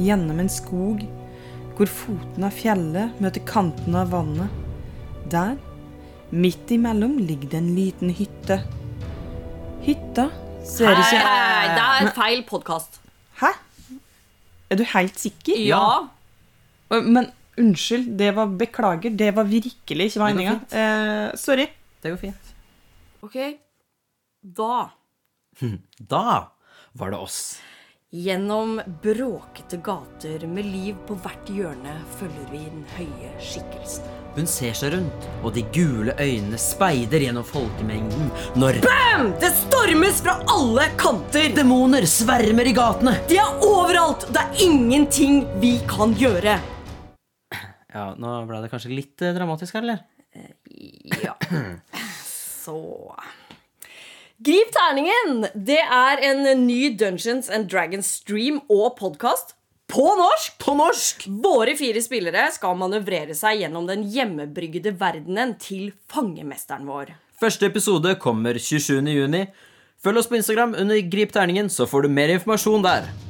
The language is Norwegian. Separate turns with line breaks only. gjennom en skog hvor foten av fjellet møter kanten av vannet. Der, midt imellom, ligger det en liten hytte. Hytta ser
Nei,
ikke
det er feil podkast.
Hæ? Er du helt sikker?
Ja.
Å, Men unnskyld, det var beklager. Det var virkelig ikke meninga. Eh, sorry.
Det går fint.
OK. Da,
Da var det oss.
gjennom bråkete gater med liv på hvert hjørne, følger vi den høye skikkelsen.
Hun ser seg rundt, og de gule øynene speider gjennom folkemengden når
Bam! Det stormes fra alle kanter!
demoner svermer i gatene.
De er overalt! Det er ingenting vi kan gjøre.
Ja, nå ble det kanskje litt eh, dramatisk her, eller?
Ja. Så Grip terningen! Det er en ny Dungeons and Dragons stream og podkast. På norsk! På norsk! Våre fire spillere skal manøvrere seg gjennom den hjemmebryggede verdenen til fangemesteren vår.
Første episode kommer 27. juni. Følg oss på Instagram under Grip terningen, så får du mer informasjon der.